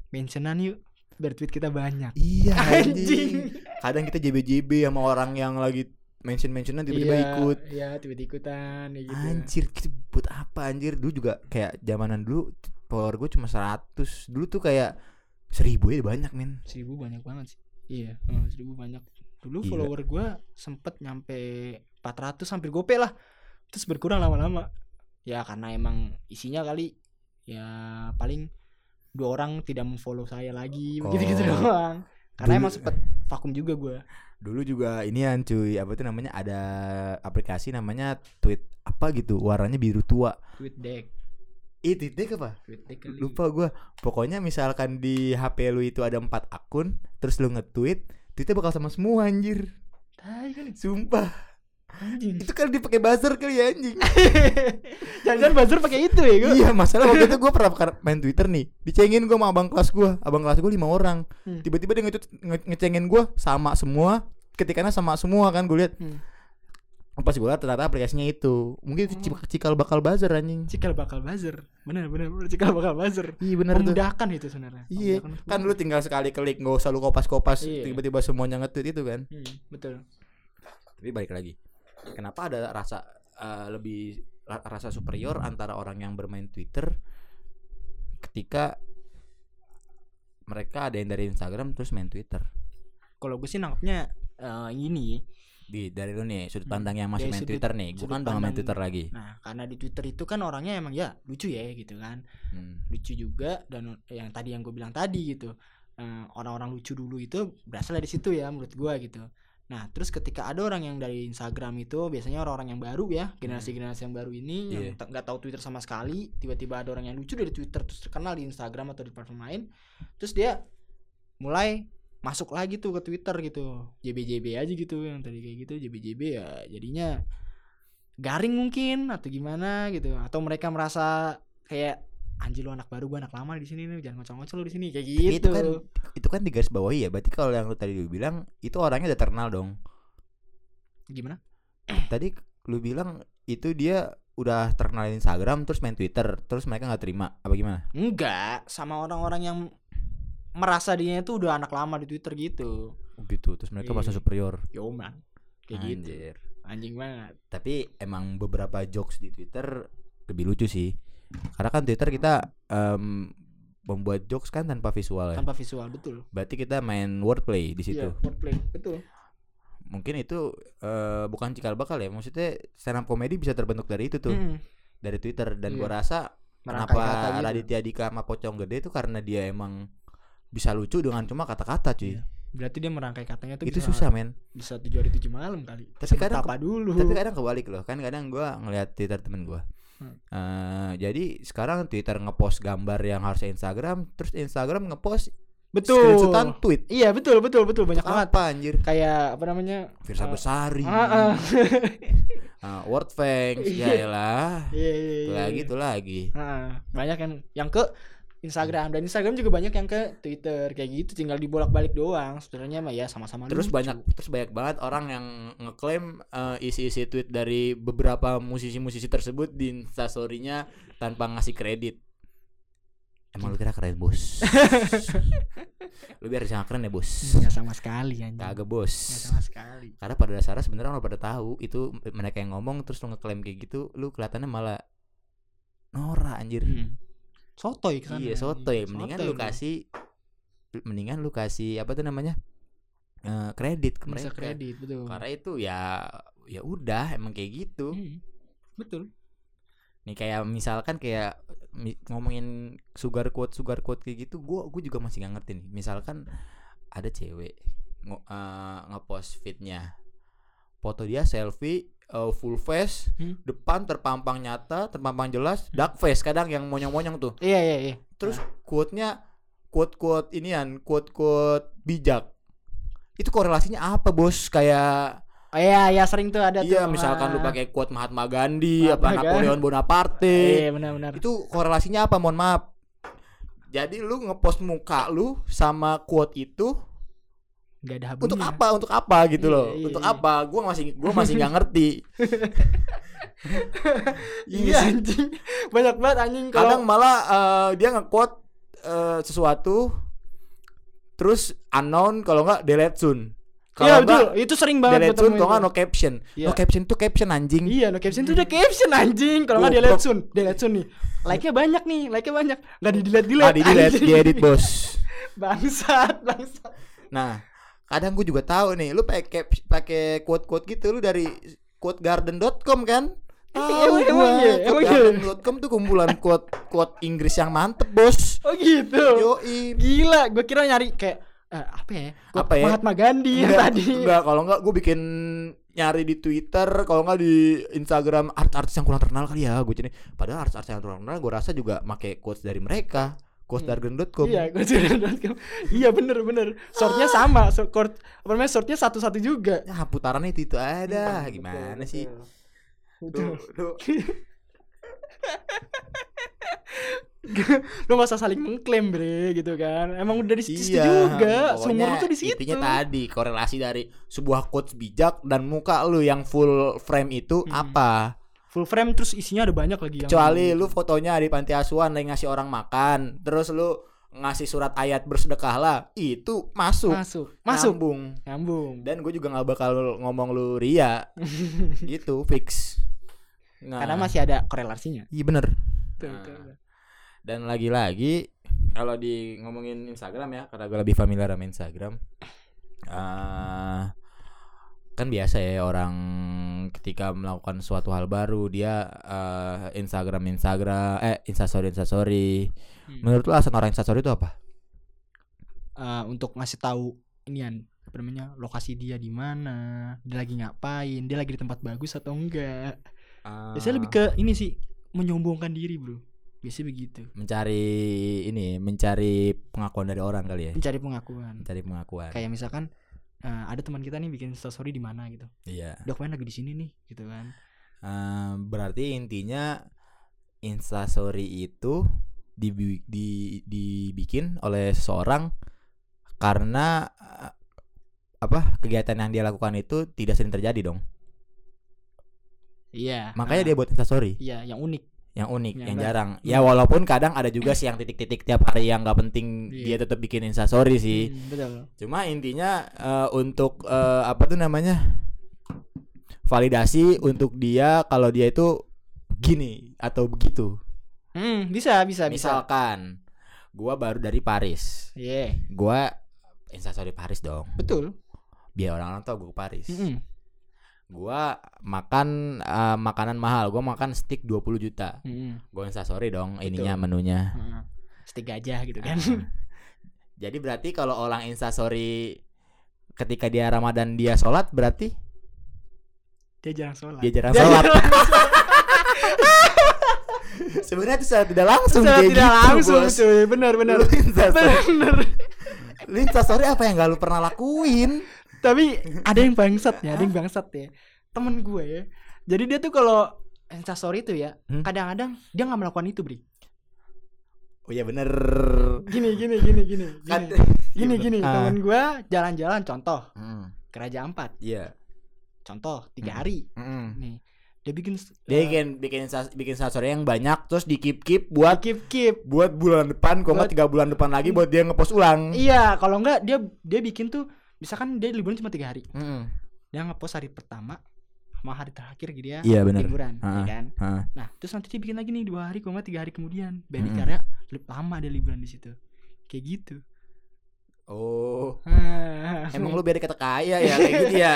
[SPEAKER 2] mentionan yuk, biar tweet kita banyak.
[SPEAKER 3] Iya, anjing.
[SPEAKER 2] Anjing.
[SPEAKER 3] Kadang kita JBJB sama orang yang lagi mention-mentionan tiba-tiba
[SPEAKER 2] Iya,
[SPEAKER 3] ikut.
[SPEAKER 2] Iya, tweet ikutan ya gitu.
[SPEAKER 3] Anjir, kita buat apa anjir? Dulu juga kayak zamanan dulu follower gue cuma 100. Dulu tuh kayak seribu ya banyak, men.
[SPEAKER 2] Seribu banyak banget sih. Iya, eh, seribu banyak. Dulu
[SPEAKER 3] Gila.
[SPEAKER 2] follower gue sempet nyampe 400 hampir gope lah. Terus berkurang lama-lama. Ya karena emang isinya kali ya paling dua orang tidak memfollow saya lagi
[SPEAKER 3] Oh.
[SPEAKER 2] begitu gitu doang karena
[SPEAKER 3] Dulu-
[SPEAKER 2] emang sempet vakum juga gue
[SPEAKER 3] Dulu juga inian cuy, apa itu namanya ada aplikasi namanya tweet apa gitu, warnanya biru tua.
[SPEAKER 2] tweet deck
[SPEAKER 3] Ih, tweet deck apa?
[SPEAKER 2] tweet deck kali.
[SPEAKER 3] Lupa gua. Pokoknya misalkan di HP lu itu ada empat akun, terus lu nge-tweet, tweetnya bakal sama semua anjir.
[SPEAKER 2] Tai kan
[SPEAKER 3] Sumpah.
[SPEAKER 2] anjing
[SPEAKER 3] Itu kan dipakai buzzer kali ya anjing.
[SPEAKER 2] jangan-jangan buzzer pakai itu ya gue
[SPEAKER 3] iya, masalah waktu itu gua pernah pernah main Twitter nih. Dicengin gua sama abang kelas gua. Abang kelas gua lima orang.
[SPEAKER 2] Hmm.
[SPEAKER 3] Tiba-tiba dia nge- nge- ngecengin gua sama semua, ketikannya sama semua kan gue lihat.
[SPEAKER 2] Hmm.
[SPEAKER 3] Pas gue liat ternyata aplikasinya itu Mungkin itu cik- cikal bakal buzzer anjing
[SPEAKER 2] cikal bakal buzzer bener bener bener cikal bakal buzzer
[SPEAKER 3] Iya bener tuh
[SPEAKER 2] memudahkan itu sebenarnya
[SPEAKER 3] Iya
[SPEAKER 2] Memudahkan untuk-
[SPEAKER 3] Kan lu tinggal sekali klik Gak usah lu kopas-kopas
[SPEAKER 2] Iya.
[SPEAKER 3] Tiba-tiba semuanya nge-tweet itu kan
[SPEAKER 2] Hmm, betul
[SPEAKER 3] Tapi balik lagi Kenapa ada rasa eh, Lebih ra- Rasa superior Antara orang yang bermain Twitter Ketika Mereka ada yang dari Instagram Terus main Twitter
[SPEAKER 2] kalau gue sih nangkepnya eh, ini
[SPEAKER 3] di, Dari lu nih Sudut
[SPEAKER 2] Hmm.
[SPEAKER 3] pandang yang masih
[SPEAKER 2] Dari
[SPEAKER 3] main
[SPEAKER 2] sudut-
[SPEAKER 3] Twitter nih Gue
[SPEAKER 2] sudut
[SPEAKER 3] kan udah nggak main
[SPEAKER 2] pandang-
[SPEAKER 3] Twitter lagi
[SPEAKER 2] nah karena di Twitter itu kan orangnya emang ya lucu ya gitu kan
[SPEAKER 3] Hmm.
[SPEAKER 2] lucu juga dan yang tadi yang gue bilang tadi gitu Eh, orang-orang lucu dulu itu berasal dari situ ya menurut gue gitu nah terus ketika ada orang yang dari Instagram itu biasanya orang-orang yang baru ya generasi-generasi yang baru ini yang
[SPEAKER 3] Iya.
[SPEAKER 2] ta- nggak tahu Twitter sama sekali tiba-tiba ada orang yang lucu dari Twitter terus terkenal di Instagram atau di platform lain terus dia mulai masuk lagi tuh ke Twitter gitu JBJB aja gitu yang tadi kayak gitu JBJB ya jadinya garing mungkin atau gimana gitu atau mereka merasa kayak anjir lu anak baru gua anak lama di sini nih jangan ngocong-ngocong lu di sini kayak gitu
[SPEAKER 3] Tapi itu kan itu kan di garis bawahi ya berarti kalau yang lu tadi lu bilang itu orangnya udah terkenal dong
[SPEAKER 2] gimana
[SPEAKER 3] tadi lu bilang itu dia udah terkenal di Instagram terus main Twitter terus mereka nggak terima apa gimana
[SPEAKER 2] enggak sama orang-orang yang merasa dia itu udah anak lama di Twitter gitu
[SPEAKER 3] gitu terus mereka
[SPEAKER 2] Iya.
[SPEAKER 3] merasa superior
[SPEAKER 2] yo man kayak gitu
[SPEAKER 3] Anjir.
[SPEAKER 2] anjing banget
[SPEAKER 3] tapi emang beberapa jokes di Twitter lebih lucu sih karena kan Twitter kita em, membuat jokes kan tanpa visual ya
[SPEAKER 2] tanpa visual betul
[SPEAKER 3] berarti kita main wordplay di situ
[SPEAKER 2] Iya, wordplay betul
[SPEAKER 3] mungkin itu eh, bukan cikal bakal ya maksudnya stand up comedy bisa terbentuk dari itu tuh
[SPEAKER 2] Mm-mm.
[SPEAKER 3] dari Twitter
[SPEAKER 2] Hmm. Iya.
[SPEAKER 3] dan gua rasa
[SPEAKER 2] Merangkai kata
[SPEAKER 3] kenapa
[SPEAKER 2] gitu.
[SPEAKER 3] Raditya Dika sama Pocong Gede itu karena dia emang bisa lucu dengan cuma kata-kata cuy
[SPEAKER 2] Iya. berarti dia merangkai katanya tuh
[SPEAKER 3] itu
[SPEAKER 2] bisa-
[SPEAKER 3] susah men
[SPEAKER 2] bisa tujuh hari tujuh malam kali
[SPEAKER 3] Tapi
[SPEAKER 2] Sempet
[SPEAKER 3] kadang-
[SPEAKER 2] apa dulu
[SPEAKER 3] tapi kadang kebalik loh kan kadang gua ngeliat Twitter temen gua
[SPEAKER 2] Hmm.
[SPEAKER 3] Eh, jadi sekarang Twitter ngepost gambar yang harusnya Instagram terus Instagram ngepost screenshotan tweet
[SPEAKER 2] iya betul betul betul banyak banget
[SPEAKER 3] apa anjir
[SPEAKER 2] kayak apa namanya Eh,
[SPEAKER 3] Virsa Besari
[SPEAKER 2] ah, ah.
[SPEAKER 3] eh, Wordfangs
[SPEAKER 2] Iya.
[SPEAKER 3] ya lah gitu.
[SPEAKER 2] iya iya iya,
[SPEAKER 3] lagi
[SPEAKER 2] iya.
[SPEAKER 3] tuh lagi
[SPEAKER 2] Ah, banyak yang yang ke Instagram dan Instagram juga banyak yang ke Twitter kayak gitu tinggal dibolak-balik doang sebenarnya mah ya sama-sama
[SPEAKER 3] terus
[SPEAKER 2] lucu.
[SPEAKER 3] banyak terus banyak banget orang yang ngeklaim eh, isi-isi tweet dari beberapa musisi-musisi tersebut di instastorynya tanpa ngasih kredit emang lu kira keren bos lu biar disangka keren ya bos
[SPEAKER 2] nggak sama sekali anjing.
[SPEAKER 3] kagak
[SPEAKER 2] Nggak
[SPEAKER 3] bos
[SPEAKER 2] sama sekali
[SPEAKER 3] karena pada dasarnya sebenarnya orang pada tahu itu mereka yang ngomong terus lu ngeklaim kayak gitu lu kelihatannya malah Nora anjir
[SPEAKER 2] Hmm. sotoy kesana
[SPEAKER 3] iya soto ya mendingan
[SPEAKER 2] Sotoy
[SPEAKER 3] lu
[SPEAKER 2] lu.
[SPEAKER 3] kasih mendingan lu kasih apa tuh namanya Eh, kredit ke
[SPEAKER 2] bisa
[SPEAKER 3] mereka
[SPEAKER 2] kredit betul
[SPEAKER 3] karena itu ya ya udah emang kayak gitu
[SPEAKER 2] Hmm. betul
[SPEAKER 3] nih kayak misalkan kayak mi- ngomongin sugar quote sugar quote kayak gitu gua gua juga masih nggak ngerti nih misalkan ada cewek ngo- eh, ngepost fitnya foto dia selfie eh, full face
[SPEAKER 2] Hmm.
[SPEAKER 3] depan terpampang nyata terpampang jelas dark face kadang yang monyong-monyong tuh
[SPEAKER 2] iya iya iya
[SPEAKER 3] terus quote-nya quote-quote inian quote-quote bijak itu korelasinya apa bos kayak
[SPEAKER 2] oh, iya iya sering tuh ada
[SPEAKER 3] Iya,
[SPEAKER 2] tuh,
[SPEAKER 3] misalkan lu
[SPEAKER 2] ah.
[SPEAKER 3] pakai quote Mahatma Gandhi
[SPEAKER 2] Mahatma
[SPEAKER 3] apa
[SPEAKER 2] Gandhi.
[SPEAKER 3] Napoleon Bonaparte.
[SPEAKER 2] iya benar-benar
[SPEAKER 3] Itu korelasinya apa? Mohon maaf. Jadi lu ngepost muka lu sama quote itu
[SPEAKER 2] nggak ada
[SPEAKER 3] untuk
[SPEAKER 2] habisnya.
[SPEAKER 3] apa? Untuk apa gitu
[SPEAKER 2] Iya,
[SPEAKER 3] loh.
[SPEAKER 2] iya,
[SPEAKER 3] untuk
[SPEAKER 2] iya.
[SPEAKER 3] apa? Gua masih gua masih nggak ngerti.
[SPEAKER 2] iya
[SPEAKER 3] iya. sih.
[SPEAKER 2] anjing banyak banget anjing kalau
[SPEAKER 3] Kadang
[SPEAKER 2] Iya,
[SPEAKER 3] malah eh, dia nge-quote eh, sesuatu terus unknown kalau nggak delete soon.
[SPEAKER 2] iya
[SPEAKER 3] Kalau
[SPEAKER 2] betul
[SPEAKER 3] nggak
[SPEAKER 2] itu sering banget
[SPEAKER 3] delete soon
[SPEAKER 2] ketemu
[SPEAKER 3] kalau nggak
[SPEAKER 2] itu.
[SPEAKER 3] no caption.
[SPEAKER 2] Iya.
[SPEAKER 3] No caption tuh caption anjing.
[SPEAKER 2] Iya, no caption itu udah caption anjing. Kalau nggak delete
[SPEAKER 3] Goblok.
[SPEAKER 2] soon, delete soon nih. Like-nya banyak nih, like-nya banyak. Nggak di delete delete.
[SPEAKER 3] Ah, di delete, di edit, Bos.
[SPEAKER 2] Bangsat, bangsat.
[SPEAKER 3] Nah, kadang gue juga tahu nih, lu pakai pakai quote-quote gitu lu dari quotegarden.com kan? Tahu
[SPEAKER 2] emang iya, emang iya.
[SPEAKER 3] Quote.com tuh kumpulan quote quote Inggris yang mantep bos.
[SPEAKER 2] Oh gitu.
[SPEAKER 3] Yoi.
[SPEAKER 2] Gila, gue kira nyari kayak eh, apa ya? Gua-
[SPEAKER 3] Apa ya?
[SPEAKER 2] Mahatma Gandhi yang
[SPEAKER 3] Enggak,
[SPEAKER 2] Iya, tadi.
[SPEAKER 3] enggak, kalau enggak gue bikin nyari di Twitter, kalau enggak di Instagram artis-artis yang kurang terkenal kali ya gue jadi. Padahal artis-artis yang kurang terkenal gue rasa juga make quotes dari mereka, quotes dari Green.com.
[SPEAKER 2] Iya, gue Iya bener bener.
[SPEAKER 3] Ah.
[SPEAKER 2] Shortnya sama, short, short apa namanya shortnya satu satu juga.
[SPEAKER 3] Ya putarannya itu itu ada Ah,
[SPEAKER 2] Iya,
[SPEAKER 3] gimana
[SPEAKER 2] Betul,
[SPEAKER 3] sih?
[SPEAKER 2] Betul.
[SPEAKER 3] Lu- lu-
[SPEAKER 2] Betul. Lu gak usah saling mengklaim bre gitu kan Emang udah di situ
[SPEAKER 3] Iya,
[SPEAKER 2] juga
[SPEAKER 3] pokoknya
[SPEAKER 2] Sumur lu tuh di situ
[SPEAKER 3] Intinya tadi korelasi dari sebuah quotes bijak dan muka lu yang full frame itu apa?
[SPEAKER 2] Full frame terus isinya ada banyak lagi Hmm. yang
[SPEAKER 3] Kecuali lu fotonya di panti asuhan lagi ngasih orang makan, terus lu ngasih surat ayat bersedekahlah, itu masuk.
[SPEAKER 2] Masuk Masuk
[SPEAKER 3] Nyambung.
[SPEAKER 2] Nyambung
[SPEAKER 3] Dan gue juga nggak bakal ngomong lu ria. gitu, fix. Nah,
[SPEAKER 2] Karena masih ada korelasinya
[SPEAKER 3] Iya bener
[SPEAKER 2] Tuh,
[SPEAKER 3] Nah.
[SPEAKER 2] tuh, tuh.
[SPEAKER 3] Dan lagi-lagi kalau di ngomongin Instagram ya, karena gue lebih familiar sama Instagram. eh, kan biasa ya orang ketika melakukan suatu hal baru dia eh, Instagram Instagram eh instastory instastory.
[SPEAKER 2] Hmm.
[SPEAKER 3] Menurut lu alasan orang instastory itu apa?
[SPEAKER 2] Eh, Untuk ngasih tahu Inian apa namanya lokasi dia di mana dia lagi ngapain dia lagi di tempat bagus atau enggak biasanya Ya,
[SPEAKER 3] Ah.
[SPEAKER 2] lebih ke ini sih menyombongkan diri bro biasanya begitu
[SPEAKER 3] mencari ini mencari pengakuan dari orang kali ya.
[SPEAKER 2] mencari pengakuan
[SPEAKER 3] Mencari pengakuan.
[SPEAKER 2] kayak misalkan eh, ada teman kita nih bikin story di mana gitu
[SPEAKER 3] Iya.
[SPEAKER 2] dok main lagi di sini nih gitu kan
[SPEAKER 3] Eh, berarti intinya instastory itu dibi- di, dibikin oleh seseorang karena eh, apa kegiatan yang dia lakukan itu tidak sering terjadi dong
[SPEAKER 2] iya
[SPEAKER 3] makanya dia buat instastory
[SPEAKER 2] iya yang unik
[SPEAKER 3] yang unik
[SPEAKER 2] Yang Hmm.
[SPEAKER 3] yang
[SPEAKER 2] lar-
[SPEAKER 3] jarang ya walaupun kadang ada juga sih yang titik-titik tiap hari yang nggak penting
[SPEAKER 2] Iya.
[SPEAKER 3] dia tetap bikin instastory sih
[SPEAKER 2] Hmm, betul
[SPEAKER 3] Cuma intinya eh, untuk eh, apa tuh namanya validasi untuk dia kalau dia itu gini atau begitu.
[SPEAKER 2] hmm, bisa bisa bisa
[SPEAKER 3] Misalkan gua baru dari Paris,
[SPEAKER 2] iya
[SPEAKER 3] gua instastory Paris dong,
[SPEAKER 2] betul Hmm,
[SPEAKER 3] biar orang-orang tahu gua ke Paris.
[SPEAKER 2] Mm-mm.
[SPEAKER 3] Gua makan eh, makanan mahal, gua makan steak 20 juta.
[SPEAKER 2] Mm-mm.
[SPEAKER 3] Gua instastory dong
[SPEAKER 2] Betul.
[SPEAKER 3] ininya menunya. Hmm.
[SPEAKER 2] Heeh. hmm, stick gajah gitu kan
[SPEAKER 3] Ah. Jadi berarti kalau orang instastory ketika dia Ramadan dia sholat berarti
[SPEAKER 2] dia jarang sholat
[SPEAKER 3] dia jarang sholat. Sebenarnya itu secara tidak langsung
[SPEAKER 2] Secara
[SPEAKER 3] kayak
[SPEAKER 2] tidak
[SPEAKER 3] gitu,
[SPEAKER 2] langsung
[SPEAKER 3] bos. Iya,
[SPEAKER 2] cuy benar benar
[SPEAKER 3] Lu instastory,
[SPEAKER 2] benar
[SPEAKER 3] lu instastory apa yang gak lu pernah lakuin?
[SPEAKER 2] tapi ada yang bangsat ya ada yang
[SPEAKER 3] Ah.
[SPEAKER 2] bangsat ya temen gue ya jadi dia tuh kalau instastory itu ya
[SPEAKER 3] Hmm?
[SPEAKER 2] kadang-kadang dia nggak melakukan itu bri
[SPEAKER 3] Oh iya bener.
[SPEAKER 2] gini gini gini gini
[SPEAKER 3] Kan-
[SPEAKER 2] gini gini, gini.
[SPEAKER 3] Ah.
[SPEAKER 2] temen gue jalan-jalan contoh
[SPEAKER 3] Hmm,
[SPEAKER 2] kerajaan empat
[SPEAKER 3] Iya.
[SPEAKER 2] contoh
[SPEAKER 3] Hmm.
[SPEAKER 2] tiga hari
[SPEAKER 3] Mm-mm.
[SPEAKER 2] nih dia bikin eh,
[SPEAKER 3] Dia bikin bikin insta- bikin instastory yang banyak terus di keep keep buat
[SPEAKER 2] keep keep
[SPEAKER 3] buat bulan depan, kok nggak
[SPEAKER 2] Buat-
[SPEAKER 3] tiga bulan depan lagi buat dia ngepost ulang.
[SPEAKER 2] iya kalau enggak dia dia bikin tuh misalkan dia liburan cuma tiga hari
[SPEAKER 3] Mm-mm.
[SPEAKER 2] dia ngepost hari pertama sama hari terakhir gitu ya
[SPEAKER 3] Iya bener.
[SPEAKER 2] liburan ya
[SPEAKER 3] Ah,
[SPEAKER 2] kan
[SPEAKER 3] ah. Hmm.
[SPEAKER 2] nah terus nanti dia bikin lagi nih dua hari kalau nggak tiga hari kemudian baby
[SPEAKER 3] Mm-mm.
[SPEAKER 2] karena li- lama dia liburan di situ kayak gitu
[SPEAKER 3] Oh.
[SPEAKER 2] emang
[SPEAKER 3] Emang lu biar dikata kaya ya kayak gitu ya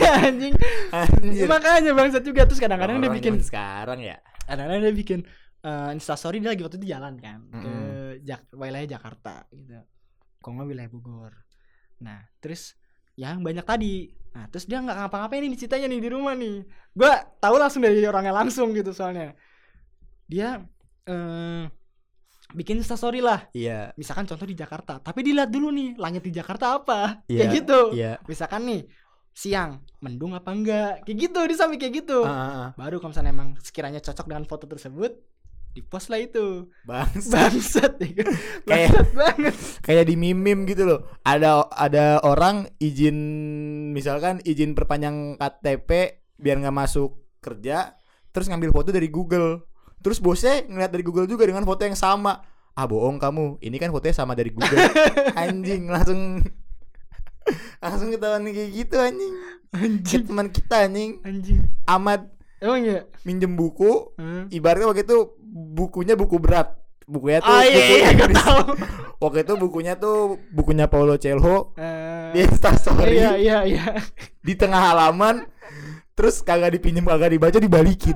[SPEAKER 2] iya anjing
[SPEAKER 3] Anjir.
[SPEAKER 2] makanya bangsat juga terus kadang-kadang dia
[SPEAKER 3] Orang
[SPEAKER 2] bikin
[SPEAKER 3] zaman sekarang ya.
[SPEAKER 2] kadang-kadang dia bikin eh, instastory dia lagi waktu itu jalan kan ke Jak wilayah Jakarta gitu kalau nggak wilayah Bogor nah terus yang banyak tadi nah terus dia nggak ngapa-ngapain nih ceritanya nih di rumah nih gua tahu langsung dari orangnya langsung gitu soalnya dia eh bikin instastory lah
[SPEAKER 3] Iya.
[SPEAKER 2] misalkan contoh di Jakarta tapi dilihat dulu nih langit di Jakarta apa kayak
[SPEAKER 3] Iya,
[SPEAKER 2] gitu
[SPEAKER 3] Iya.
[SPEAKER 2] misalkan nih siang mendung apa enggak kayak gitu dia sampai kayak gitu
[SPEAKER 3] Ah, ah, ah.
[SPEAKER 2] baru kalau misalnya emang sekiranya cocok dengan foto tersebut di post lah itu
[SPEAKER 3] Bangsa.
[SPEAKER 2] bangsat ya kan? bangsat banget
[SPEAKER 3] kayak di mimim gitu loh. Ada ada orang izin misalkan izin perpanjang KTP biar nggak masuk kerja, terus ngambil foto dari Google. Terus bosnya ngeliat dari Google juga dengan foto yang sama. Ah bohong kamu, ini kan fotonya sama dari Google. anjing langsung langsung ketahuan kayak gitu anjing.
[SPEAKER 2] anjing
[SPEAKER 3] Kayak Teman kita anjing
[SPEAKER 2] anjing
[SPEAKER 3] Ahmad
[SPEAKER 2] emang ya
[SPEAKER 3] minjem buku,
[SPEAKER 2] hmm?
[SPEAKER 3] ibaratnya waktu itu bukunya buku berat. Bukunya tuh
[SPEAKER 2] ah iya
[SPEAKER 3] buku
[SPEAKER 2] iya gue
[SPEAKER 3] Inggris.
[SPEAKER 2] tahu
[SPEAKER 3] Waktu itu bukunya tuh bukunya Paulo Coelho
[SPEAKER 2] Eh,
[SPEAKER 3] di Instastory
[SPEAKER 2] iya iya iya
[SPEAKER 3] di tengah halaman Terus kagak dipinjem kagak dibaca dibalikin.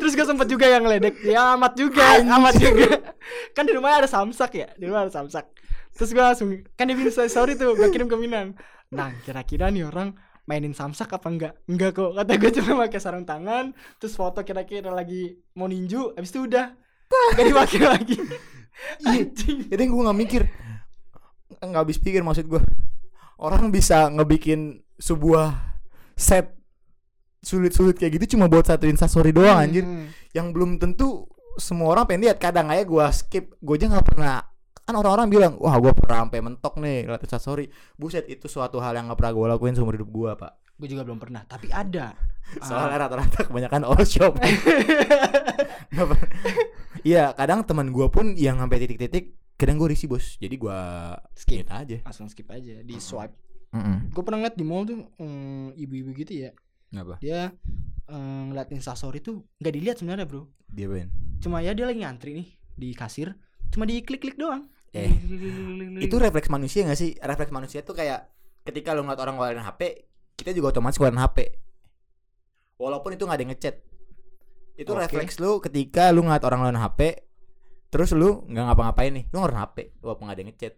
[SPEAKER 2] Terus gue sempet juga yang ngeledek Ya amat juga Amat juga Kan di rumahnya ada samsak ya Di rumah ada samsak Terus gue langsung Kan dia bilang sorry tuh Gue kirim ke Minang Nah kira-kira nih orang Mainin samsak apa enggak Enggak kok Kata gue cuma pakai sarung tangan Terus foto kira-kira lagi Mau ninju Habis itu udah Gak dipakai lagi Anjing
[SPEAKER 3] Iya. Jadi gue nggak mikir, nggak habis pikir maksud gue. Orang bisa ngebikin sebuah set sulit-sulit kayak gitu cuma buat satu instastory doang anjir.
[SPEAKER 2] Hmm.
[SPEAKER 3] Yang belum tentu semua orang pengen lihat. Kadang aja gue skip, gue aja nggak pernah kan orang-orang bilang wah gue pernah sampai mentok nih lihat instastory buset itu suatu hal yang nggak pernah gue lakuin seumur hidup gue pak
[SPEAKER 2] Gue juga belum pernah Tapi ada Ah,
[SPEAKER 3] soalnya rata-rata kebanyakan all shop Nggak per- iya kadang teman gue pun yang sampai titik-titik kadang gue risih bos jadi gue
[SPEAKER 2] Skip.
[SPEAKER 3] skip aja
[SPEAKER 2] Langsung skip aja Di swipe
[SPEAKER 3] Mm-mm.
[SPEAKER 2] Gue pernah ngeliat di mall tuh mm, Ibu-ibu gitu ya
[SPEAKER 3] Kenapa?
[SPEAKER 2] Dia eh, ngeliatin sasori tuh Gak dilihat sebenarnya bro
[SPEAKER 3] Dia ben.
[SPEAKER 2] cuma ya dia lagi ngantri nih di kasir cuma di klik klik doang
[SPEAKER 3] Eh, Itu refleks manusia gak sih? Refleks manusia tuh kayak ketika lu ngeliat orang ngeluarin HP, kita juga otomatis ngeluarin HP. Walaupun itu gak ada yang ngechat. Itu
[SPEAKER 2] Oke.
[SPEAKER 3] refleks lu ketika lu ngeliat orang ngeluarin HP, terus lu nggak ngapa-ngapain nih, lu ngeluarin HP walaupun gak ada yang ngechat.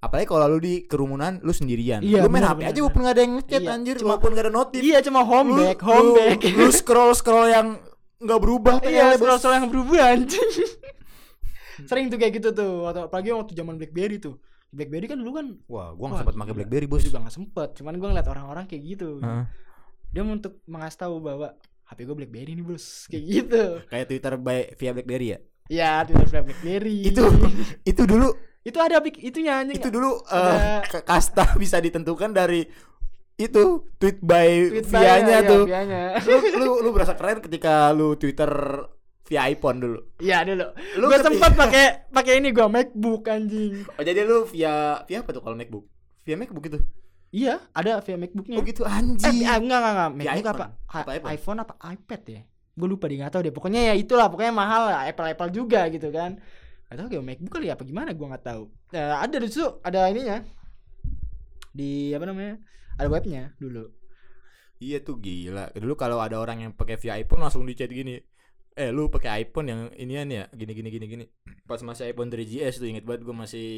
[SPEAKER 3] Apalagi kalau lu di kerumunan lu sendirian.
[SPEAKER 2] Iya,
[SPEAKER 3] lu main
[SPEAKER 2] benar,
[SPEAKER 3] HP
[SPEAKER 2] benar,
[SPEAKER 3] aja
[SPEAKER 2] benar.
[SPEAKER 3] walaupun gak ada yang ngechat
[SPEAKER 2] Iya,
[SPEAKER 3] anjir,
[SPEAKER 2] cuma-
[SPEAKER 3] walaupun gak ada notif.
[SPEAKER 2] iya cuma home
[SPEAKER 3] Lu-
[SPEAKER 2] back home
[SPEAKER 3] lu-
[SPEAKER 2] back
[SPEAKER 3] Lu scroll-scroll yang nggak berubah
[SPEAKER 2] iya
[SPEAKER 3] ternyata, bos.
[SPEAKER 2] scroll scroll yang berubah anjing
[SPEAKER 3] Hmm.
[SPEAKER 2] sering tuh kayak gitu tuh atau apalagi waktu zaman blackberry tuh blackberry kan dulu kan
[SPEAKER 3] Wah,
[SPEAKER 2] Wah,
[SPEAKER 3] gua gak sempat pakai
[SPEAKER 2] gila.
[SPEAKER 3] BlackBerry,
[SPEAKER 2] gue
[SPEAKER 3] bos.
[SPEAKER 2] juga nggak sempet cuman gue ngeliat orang-orang kayak gitu
[SPEAKER 3] Heeh.
[SPEAKER 2] dia untuk mengasih tahu bahwa HP gue BlackBerry nih bos Kayak gitu
[SPEAKER 3] Kayak Twitter by via BlackBerry ya.
[SPEAKER 2] Ya Twitter punya Blackberry
[SPEAKER 3] Itu itu dulu
[SPEAKER 2] Itu ada pik- itunya anjing
[SPEAKER 3] itu dulu
[SPEAKER 2] Iya. Ada-
[SPEAKER 3] eh, k- kasta bisa ditentukan dari itu tweet by
[SPEAKER 2] Tweet saya,
[SPEAKER 3] via-nya
[SPEAKER 2] ya,
[SPEAKER 3] tuh.
[SPEAKER 2] via-nya.
[SPEAKER 3] Lu, lu lu berasa keren ketika lu Twitter via iPhone dulu.
[SPEAKER 2] Iya dulu
[SPEAKER 3] Lu
[SPEAKER 2] Gue
[SPEAKER 3] ketika-
[SPEAKER 2] sempet pakai pakai ini gue Macbook anjing
[SPEAKER 3] Oh, jadi lu via via apa tuh kalau MacBook? Via MacBook gitu.
[SPEAKER 2] Iya, ada via MacBooknya.
[SPEAKER 3] Oh gitu
[SPEAKER 2] Eh,
[SPEAKER 3] anjing.
[SPEAKER 2] ah, enggak enggak enggak.
[SPEAKER 3] Via
[SPEAKER 2] MacBook apa?
[SPEAKER 3] iPhone.
[SPEAKER 2] Ha-
[SPEAKER 3] Apa iPhone?
[SPEAKER 2] iPhone? apa iPad ya? Gue lupa deh nggak tahu deh. Pokoknya ya itulah, pokoknya mahal lah. Apple Apple juga gitu kan. Gak tahu kayak MacBook kali ya apa gimana gue nggak tahu. Eh, ada di situ, ada ininya. Di apa namanya? Ada webnya dulu.
[SPEAKER 3] Iya tuh gila. Dulu kalau ada orang yang pakai via iPhone langsung di chat gini. Eh lu pakai iPhone yang inian ya gini gini gini gini. Pas masih iPhone 3GS tuh inget banget gue masih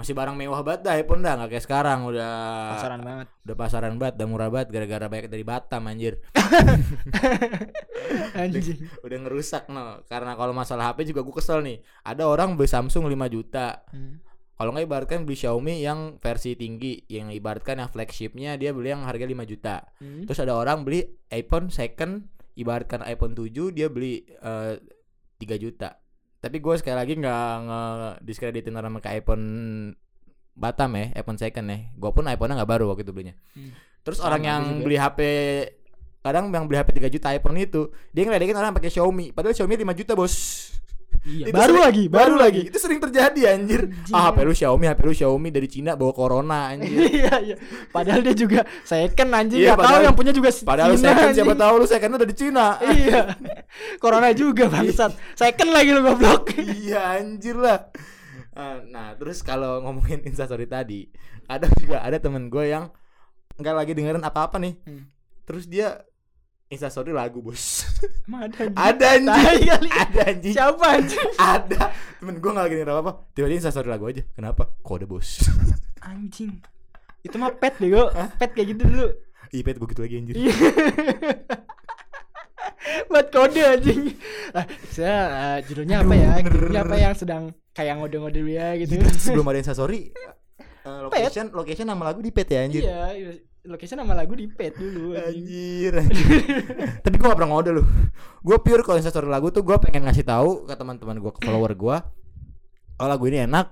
[SPEAKER 3] masih barang mewah banget dah iPhone dah nggak kayak sekarang udah Ah.
[SPEAKER 2] Pasaran banget.
[SPEAKER 3] udah pasaran banget udah murah banget gara-gara banyak dari Batam anjir
[SPEAKER 2] Anjing.
[SPEAKER 3] udah ngerusak no karena kalau masalah HP juga gue kesel nih ada orang beli Samsung 5 juta
[SPEAKER 2] Hmm.
[SPEAKER 3] kalau nggak ibaratkan beli Xiaomi yang versi tinggi yang ibaratkan yang flagshipnya dia beli yang harga 5 juta
[SPEAKER 2] Hmm.
[SPEAKER 3] Terus ada orang beli iPhone second ibaratkan iPhone 7 dia beli eh, 3 juta. Tapi gue sekali lagi nggak ngediskreditin orang pakai iPhone Batam ya, iPhone second ya. Gue pun iPhone-nya nggak baru waktu itu belinya.
[SPEAKER 2] Hmm.
[SPEAKER 3] Terus
[SPEAKER 2] Sama
[SPEAKER 3] orang yang
[SPEAKER 2] gua juga.
[SPEAKER 3] beli HP kadang yang beli HP 3 juta iPhone itu dia ngeledekin orang pakai Xiaomi padahal Xiaomi 5 juta bos
[SPEAKER 2] Iya,
[SPEAKER 3] Itu
[SPEAKER 2] baru
[SPEAKER 3] sering-
[SPEAKER 2] lagi, baru lagi.
[SPEAKER 3] itu sering terjadi anjir
[SPEAKER 2] Anjing.
[SPEAKER 3] ah HP lu Xiaomi HP lu Xiaomi dari Cina bawa corona anjir
[SPEAKER 2] Iya, iya. Padahal dia juga second anjing. Gak
[SPEAKER 3] Iya,
[SPEAKER 2] tahu
[SPEAKER 3] padahal-
[SPEAKER 2] yang punya juga si
[SPEAKER 3] padahal lu
[SPEAKER 2] Cina,
[SPEAKER 3] second siapa
[SPEAKER 2] anjing.
[SPEAKER 3] tahu lu second udah di Cina
[SPEAKER 2] iya. Corona juga bangsat. Second lagi lu goblok.
[SPEAKER 3] iya anjir lah Eh, nah terus kalau ngomongin instastory tadi ada juga ada temen gue yang nggak lagi dengerin apa apa nih
[SPEAKER 2] Hmm.
[SPEAKER 3] terus dia instastory lagu bos
[SPEAKER 2] Emang ada
[SPEAKER 3] ada
[SPEAKER 2] Tai
[SPEAKER 3] anjing
[SPEAKER 2] kali.
[SPEAKER 3] ada anjing
[SPEAKER 2] Siapa anjing?
[SPEAKER 3] ada temen gue nggak lagi dengerin apa apa tiba-tiba instastory lagu aja kenapa kode bos
[SPEAKER 2] Anjing. Itu mah pet deh gua. Pet kayak gitu dulu.
[SPEAKER 3] ipet begitu lagi anjir
[SPEAKER 2] Iya. Buat kode anjing. Ah, saya eh, judulnya apa ya?
[SPEAKER 3] Aduh,
[SPEAKER 2] Judulnya apa
[SPEAKER 3] bener.
[SPEAKER 2] yang sedang kayak ngode-ngode dia gitu.
[SPEAKER 3] Jadi sebelum ada instastory eh, location location nama lagu di pet ya anjir
[SPEAKER 2] iya, iya. location sama lagu di pet dulu anjing.
[SPEAKER 3] Anjir, anjir. Tapi gue gak pernah ngode lu Gue pure kalau instastory lagu tuh gue pengen ngasih tahu ke teman-teman gue ke follower gue Kalau lagu ini enak,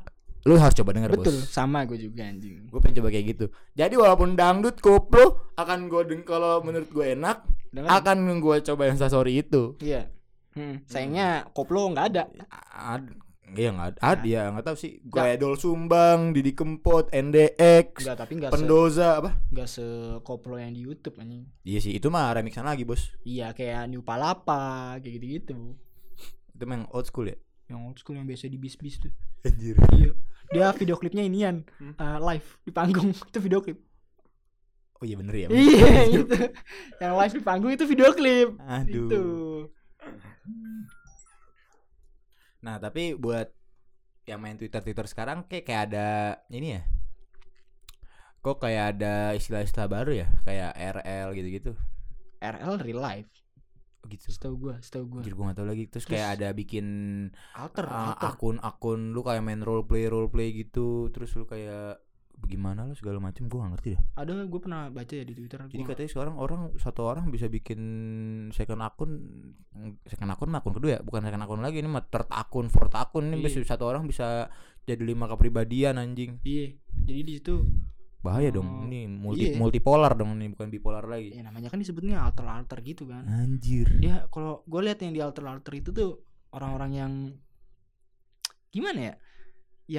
[SPEAKER 3] lu harus coba denger
[SPEAKER 2] Betul,
[SPEAKER 3] bos
[SPEAKER 2] sama gue juga anjing.
[SPEAKER 3] Gue pengen coba kayak gitu Jadi walaupun dangdut koplo Akan gue deng kalau menurut gue enak
[SPEAKER 2] Dengar?
[SPEAKER 3] Akan gue coba instastory itu
[SPEAKER 2] Iya. Hmm, sayangnya koplo nggak ada.
[SPEAKER 3] Ad, Iya gak ada, ya gak tau sih Gue
[SPEAKER 2] Nggak.
[SPEAKER 3] Edol Sumbang, Didi Kempot, NDX,
[SPEAKER 2] Enggak, tapi enggak se
[SPEAKER 3] Pendoza apa
[SPEAKER 2] enggak se koplo yang di YouTube anjing.
[SPEAKER 3] Iya sih, itu mah remixan lagi bos
[SPEAKER 2] Iya kayak New Palapa kayak gitu-gitu.
[SPEAKER 3] Itu mah yang old school ya
[SPEAKER 2] Yang old school yang biasa di bis-bis tuh. Hmm.
[SPEAKER 3] Anjir
[SPEAKER 2] Iya. Dia video klipnya inian eh, live di panggung itu video klip.
[SPEAKER 3] Oh iya bener ya. bener.
[SPEAKER 2] Iya gitu. Yang live di panggung itu video klip.
[SPEAKER 3] Aduh.
[SPEAKER 2] Itu.
[SPEAKER 3] Nah tapi buat yang main Twitter Twitter sekarang kayak kayak ada ini ya. Kok kayak ada istilah-istilah baru ya kayak RL gitu-gitu.
[SPEAKER 2] RL real life.
[SPEAKER 3] Oh, Gitu.
[SPEAKER 2] Setahu gua, setahu gua. Ah,
[SPEAKER 3] Anjir gue gak tau lagi Terus kayak ada bikin
[SPEAKER 2] Alter,
[SPEAKER 3] uh,
[SPEAKER 2] alter.
[SPEAKER 3] akun-akun Lu kayak main role play role play gitu Terus lu kayak Gimana lu segala macem Gue gak ngerti dah
[SPEAKER 2] Ada gua pernah baca ya di Twitter.
[SPEAKER 3] Jadi
[SPEAKER 2] gua-
[SPEAKER 3] katanya sekarang orang Satu orang bisa bikin Second akun Second akun mah akun kedua ya Bukan second akun lagi Ini mah third akun Fourth akun Ini bisa,
[SPEAKER 2] Iya.
[SPEAKER 3] satu orang bisa Jadi lima kepribadian anjing
[SPEAKER 2] Iya. Jadi di situ
[SPEAKER 3] Bahaya dong
[SPEAKER 2] Oh,
[SPEAKER 3] Hmm, Ini multi,
[SPEAKER 2] iya.
[SPEAKER 3] multipolar dong Ini bukan bipolar lagi
[SPEAKER 2] ya namanya kan disebutnya alter-alter gitu kan.
[SPEAKER 3] Anjir
[SPEAKER 2] Dia kalau gue lihat yang di alter-alter itu tuh orang-orang yang gimana ya?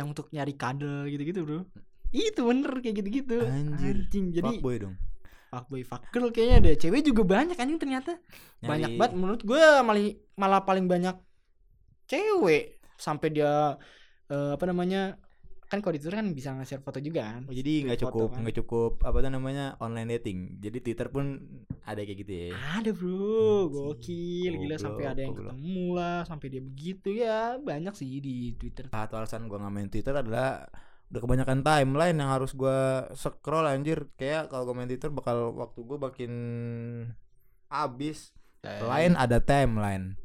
[SPEAKER 2] Yang untuk nyari kadal gitu-gitu, Bro. Itu bener kayak gitu-gitu.
[SPEAKER 3] Anjir.
[SPEAKER 2] Anjing. Jadi
[SPEAKER 3] Fuckboy dong
[SPEAKER 2] fuckboy fuck girl kayaknya ada cewek juga banyak anjing ternyata banyak
[SPEAKER 3] Nyari-
[SPEAKER 2] banget menurut gue malah malah paling banyak cewek sampai dia eh, apa namanya kan kalau di Twitter kan bisa nge-share foto juga kan
[SPEAKER 3] Oh, jadi nggak
[SPEAKER 2] Foto
[SPEAKER 3] cukup
[SPEAKER 2] kan.
[SPEAKER 3] nggak cukup apa tuh namanya online dating. Jadi Twitter pun ada kayak gitu ya.
[SPEAKER 2] ada bro
[SPEAKER 3] Anjing,
[SPEAKER 2] gokil gila sampai
[SPEAKER 3] goblok,
[SPEAKER 2] ada yang
[SPEAKER 3] goblok.
[SPEAKER 2] ketemu lah sampai dia begitu ya banyak sih di Twitter
[SPEAKER 3] Satu alasan gua nggak main Twitter adalah udah kebanyakan timeline yang harus gua scroll anjir. Kayak kalau gua main Twitter bakal waktu gua makin habis. Lain ada timeline.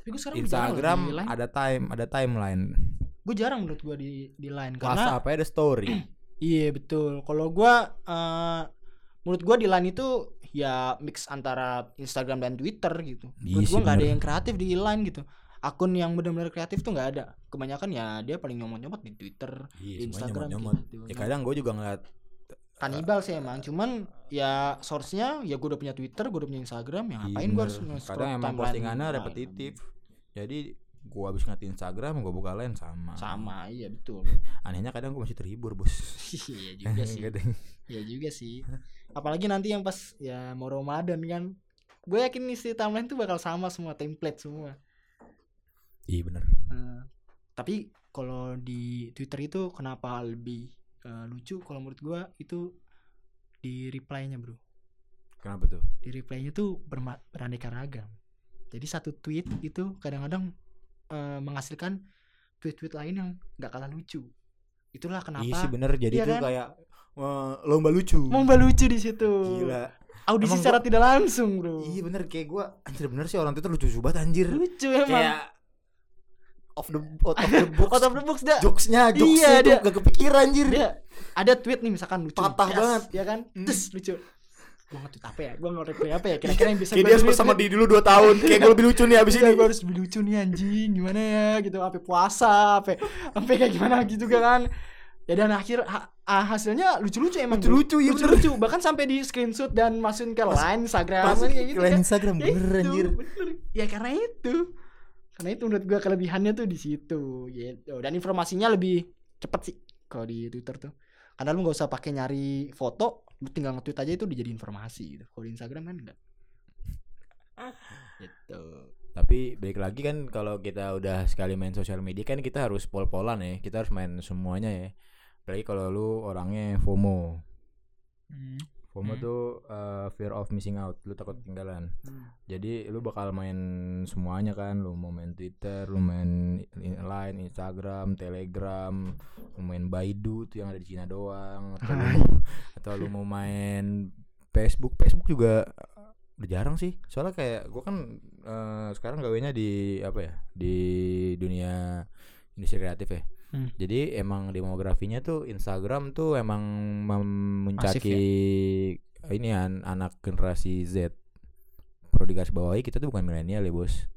[SPEAKER 2] tapi gue sekarang jarang loh
[SPEAKER 3] Instagram
[SPEAKER 2] di line
[SPEAKER 3] ada time ada timeline.
[SPEAKER 2] gue jarang menurut gue di di line karena
[SPEAKER 3] WhatsApp ada story.
[SPEAKER 2] Iya betul. Kalau gua eh menurut gua di line itu ya mix antara Instagram dan Twitter gitu.
[SPEAKER 3] Iya
[SPEAKER 2] menurut
[SPEAKER 3] sih,
[SPEAKER 2] gua nggak ada
[SPEAKER 3] bener.
[SPEAKER 2] yang kreatif di line gitu. Akun yang benar-benar kreatif tuh nggak ada. Kebanyakan ya dia paling nyomot-nyomot di Twitter, di
[SPEAKER 3] Iya, semuanya
[SPEAKER 2] Instagram
[SPEAKER 3] nyomot-nyomot.
[SPEAKER 2] gitu.
[SPEAKER 3] Ya kadang gua juga ngeliat
[SPEAKER 2] Kanibal sih emang, cuman ya source-nya ya gua udah punya Twitter, gua udah punya Instagram, ya ngapain gua
[SPEAKER 3] Iya, Bener.
[SPEAKER 2] harus nge-scroll
[SPEAKER 3] kadang emang
[SPEAKER 2] timeline
[SPEAKER 3] postingannya
[SPEAKER 2] lain?
[SPEAKER 3] repetitif jadi gua habis ngeliat Instagram gua buka lain sama
[SPEAKER 2] Sama, iya betul.
[SPEAKER 3] anehnya kadang gua masih terhibur bos
[SPEAKER 2] Iya juga sih.
[SPEAKER 3] Kadang-
[SPEAKER 2] Ya juga sih. Apalagi nanti yang pas ya mau Ramadan kan. Gue yakin isi timeline tuh bakal sama semua template semua.
[SPEAKER 3] iya bener
[SPEAKER 2] Eh, tapi kalau di Twitter itu kenapa lebih eh, lucu kalau menurut gue itu di reply-nya, Bro.
[SPEAKER 3] kenapa tuh
[SPEAKER 2] Di reply-nya tuh berma- beraneka ragam. Jadi satu tweet itu kadang-kadang eh, menghasilkan tweet-tweet lain yang nggak kalah lucu. Itulah
[SPEAKER 3] iya sih
[SPEAKER 2] kenapa
[SPEAKER 3] bener jadi
[SPEAKER 2] Iya
[SPEAKER 3] tuh
[SPEAKER 2] kan?
[SPEAKER 3] kayak eh, lomba lucu
[SPEAKER 2] Momba lucu di situ.
[SPEAKER 3] gila
[SPEAKER 2] Audisi
[SPEAKER 3] Emang
[SPEAKER 2] secara tidak langsung, Bro.
[SPEAKER 3] iya bener kayak gua anjir bener sih orang Twitter lucu banget anjir
[SPEAKER 2] lucu emang
[SPEAKER 3] kayak off the out of the box
[SPEAKER 2] out of the box dah
[SPEAKER 3] jokesnya jokes
[SPEAKER 2] Iya,
[SPEAKER 3] itu
[SPEAKER 2] dia-
[SPEAKER 3] gak kepikiran anjir
[SPEAKER 2] dia ada tweet nih misalkan lucu nih.
[SPEAKER 3] Patah banget.
[SPEAKER 2] ya kan
[SPEAKER 3] Hmm.
[SPEAKER 2] terus lucu gue nge-tweet apa ya gue nge-reply apa ya kira-kira yang bisa
[SPEAKER 3] kayak
[SPEAKER 2] gua
[SPEAKER 3] dia harus
[SPEAKER 2] tweet
[SPEAKER 3] bersama
[SPEAKER 2] nih?
[SPEAKER 3] di dulu 2 tahun kayak gua lebih lucu nih abis
[SPEAKER 2] Iya,
[SPEAKER 3] ini
[SPEAKER 2] gue harus lebih lucu nih anjing gimana ya gitu sampai puasa sampai sampai kayak gimana gitu juga kan ya dan akhir ha- ah, hasilnya lucu-lucu emang bro.
[SPEAKER 3] Lucu-lucu, iya
[SPEAKER 2] lucu-lucu bahkan sampai di screenshot dan masukin ke line Instagram
[SPEAKER 3] Masuk
[SPEAKER 2] kayak
[SPEAKER 3] ke
[SPEAKER 2] gitu
[SPEAKER 3] line
[SPEAKER 2] kan
[SPEAKER 3] Instagram
[SPEAKER 2] Ya
[SPEAKER 3] bener
[SPEAKER 2] itu,
[SPEAKER 3] anjir
[SPEAKER 2] bener. Ya karena itu. Karena itu menurut gua kelebihannya tuh di situ gitu. Dan informasinya lebih cepet sih kalau di Twitter tuh. Karena lu nggak usah pakai nyari foto, lu tinggal nge-tweet aja itu dijadi informasi gitu. Kalau di Instagram kan enggak. gitu.
[SPEAKER 3] Tapi balik lagi kan kalau kita udah sekali main sosial media kan kita harus pol-polan ya. Kita harus main semuanya ya. Apalagi kalau lu orangnya FOMO. FOMO
[SPEAKER 2] Hmm.
[SPEAKER 3] tuh uh, fear of missing out. Lu takut ketinggalan. Jadi lu bakal main semuanya kan. Lu mau main Twitter, lu main i- Line, Instagram, Telegram, lu main Baidu tuh yang ada di Cina doang atau lu, atau lu mau main Facebook. Facebook juga uh, udah jarang sih. Soalnya kayak gua kan uh, sekarang gawainya di apa ya? Di dunia industri kreatif ya.
[SPEAKER 2] Hmm.
[SPEAKER 3] Jadi emang demografinya tuh Instagram tuh emang memuncaki ini an- anak generasi Z. Perlu digarisbawahi kita tuh bukan milenial ya, Bos.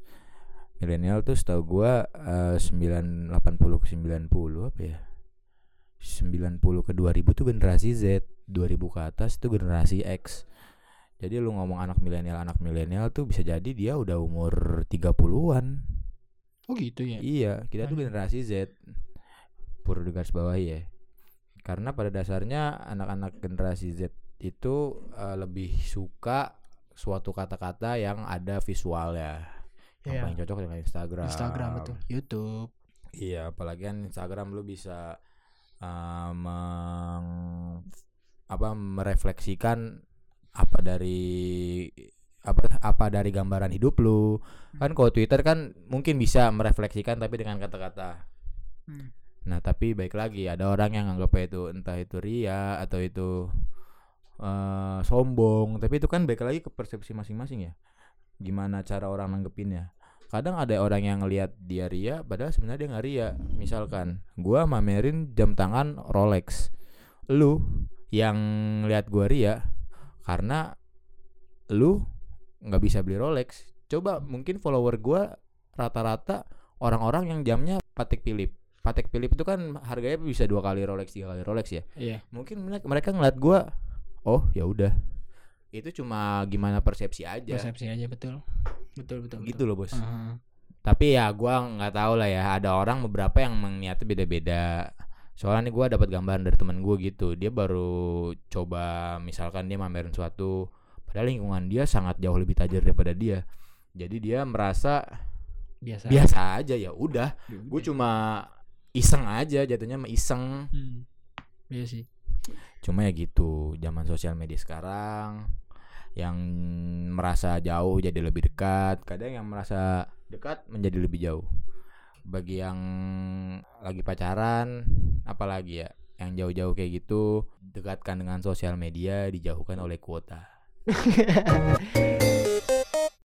[SPEAKER 3] Milenial tuh setahu gua eh, 9 80 ke 90 apa ya? 90 ke 2000 tuh generasi Z, 2000 ke atas tuh generasi X. Jadi lu ngomong anak milenial, anak milenial tuh bisa jadi dia udah umur 30-an.
[SPEAKER 2] Oh gitu ya.
[SPEAKER 3] Iya, kita tuh
[SPEAKER 2] Aneh.
[SPEAKER 3] generasi Z. Perlu digarisbawahi ya. Karena pada dasarnya anak-anak generasi Z itu eh, lebih suka suatu kata-kata yang ada visualnya. Yang
[SPEAKER 2] Iya.
[SPEAKER 3] paling cocok dengan Instagram.
[SPEAKER 2] Instagram betul. YouTube.
[SPEAKER 3] Iya, apalagi kan Instagram lu bisa eh, meng ah, apa merefleksikan apa dari apa apa dari gambaran hidup lu kan kalau Twitter kan mungkin bisa merefleksikan tapi dengan kata-kata
[SPEAKER 2] Hmm.
[SPEAKER 3] nah tapi baik lagi ada orang yang anggap itu entah itu ria atau itu eh, sombong tapi itu kan baik lagi ke persepsi masing-masing ya gimana cara orang nanggepinnya kadang ada orang yang ngelihat dia ria padahal sebenarnya dia nggak ria misalkan gua mamerin jam tangan Rolex lu yang lihat gua ria karena lu nggak bisa beli Rolex coba mungkin follower gua rata-rata orang-orang yang jamnya Patek Philippe Patek Philippe itu kan harganya bisa dua kali Rolex tiga kali Rolex ya
[SPEAKER 2] Iya.
[SPEAKER 3] mungkin mereka- mereka ngeliat gua oh ya udah itu cuma gimana persepsi aja
[SPEAKER 2] Ya. Persepsi aja betul. Betul betul.
[SPEAKER 3] gitu loh bos
[SPEAKER 2] betul. Aha.
[SPEAKER 3] tapi ya gua nggak tahu lah ya ada orang beberapa yang niatnya beda-beda soalnya nih gua dapat gambaran dari teman gua gitu dia baru coba misalkan dia mamerin suatu padahal lingkungan dia sangat jauh lebih tajir daripada dia jadi dia merasa
[SPEAKER 2] Biasa.
[SPEAKER 3] biasa aja ya udah
[SPEAKER 2] Ya
[SPEAKER 3] gue
[SPEAKER 2] udah.
[SPEAKER 3] cuma iseng aja jatuhnya mah iseng
[SPEAKER 2] Hmm. Iya sih.
[SPEAKER 3] Cuma ya gitu, zaman sosial media sekarang yang merasa jauh jadi lebih dekat, kadang yang merasa dekat menjadi lebih jauh. Bagi yang lagi pacaran, apalagi ya, yang jauh-jauh kayak gitu, dekatkan dengan sosial media dijauhkan oleh kuota.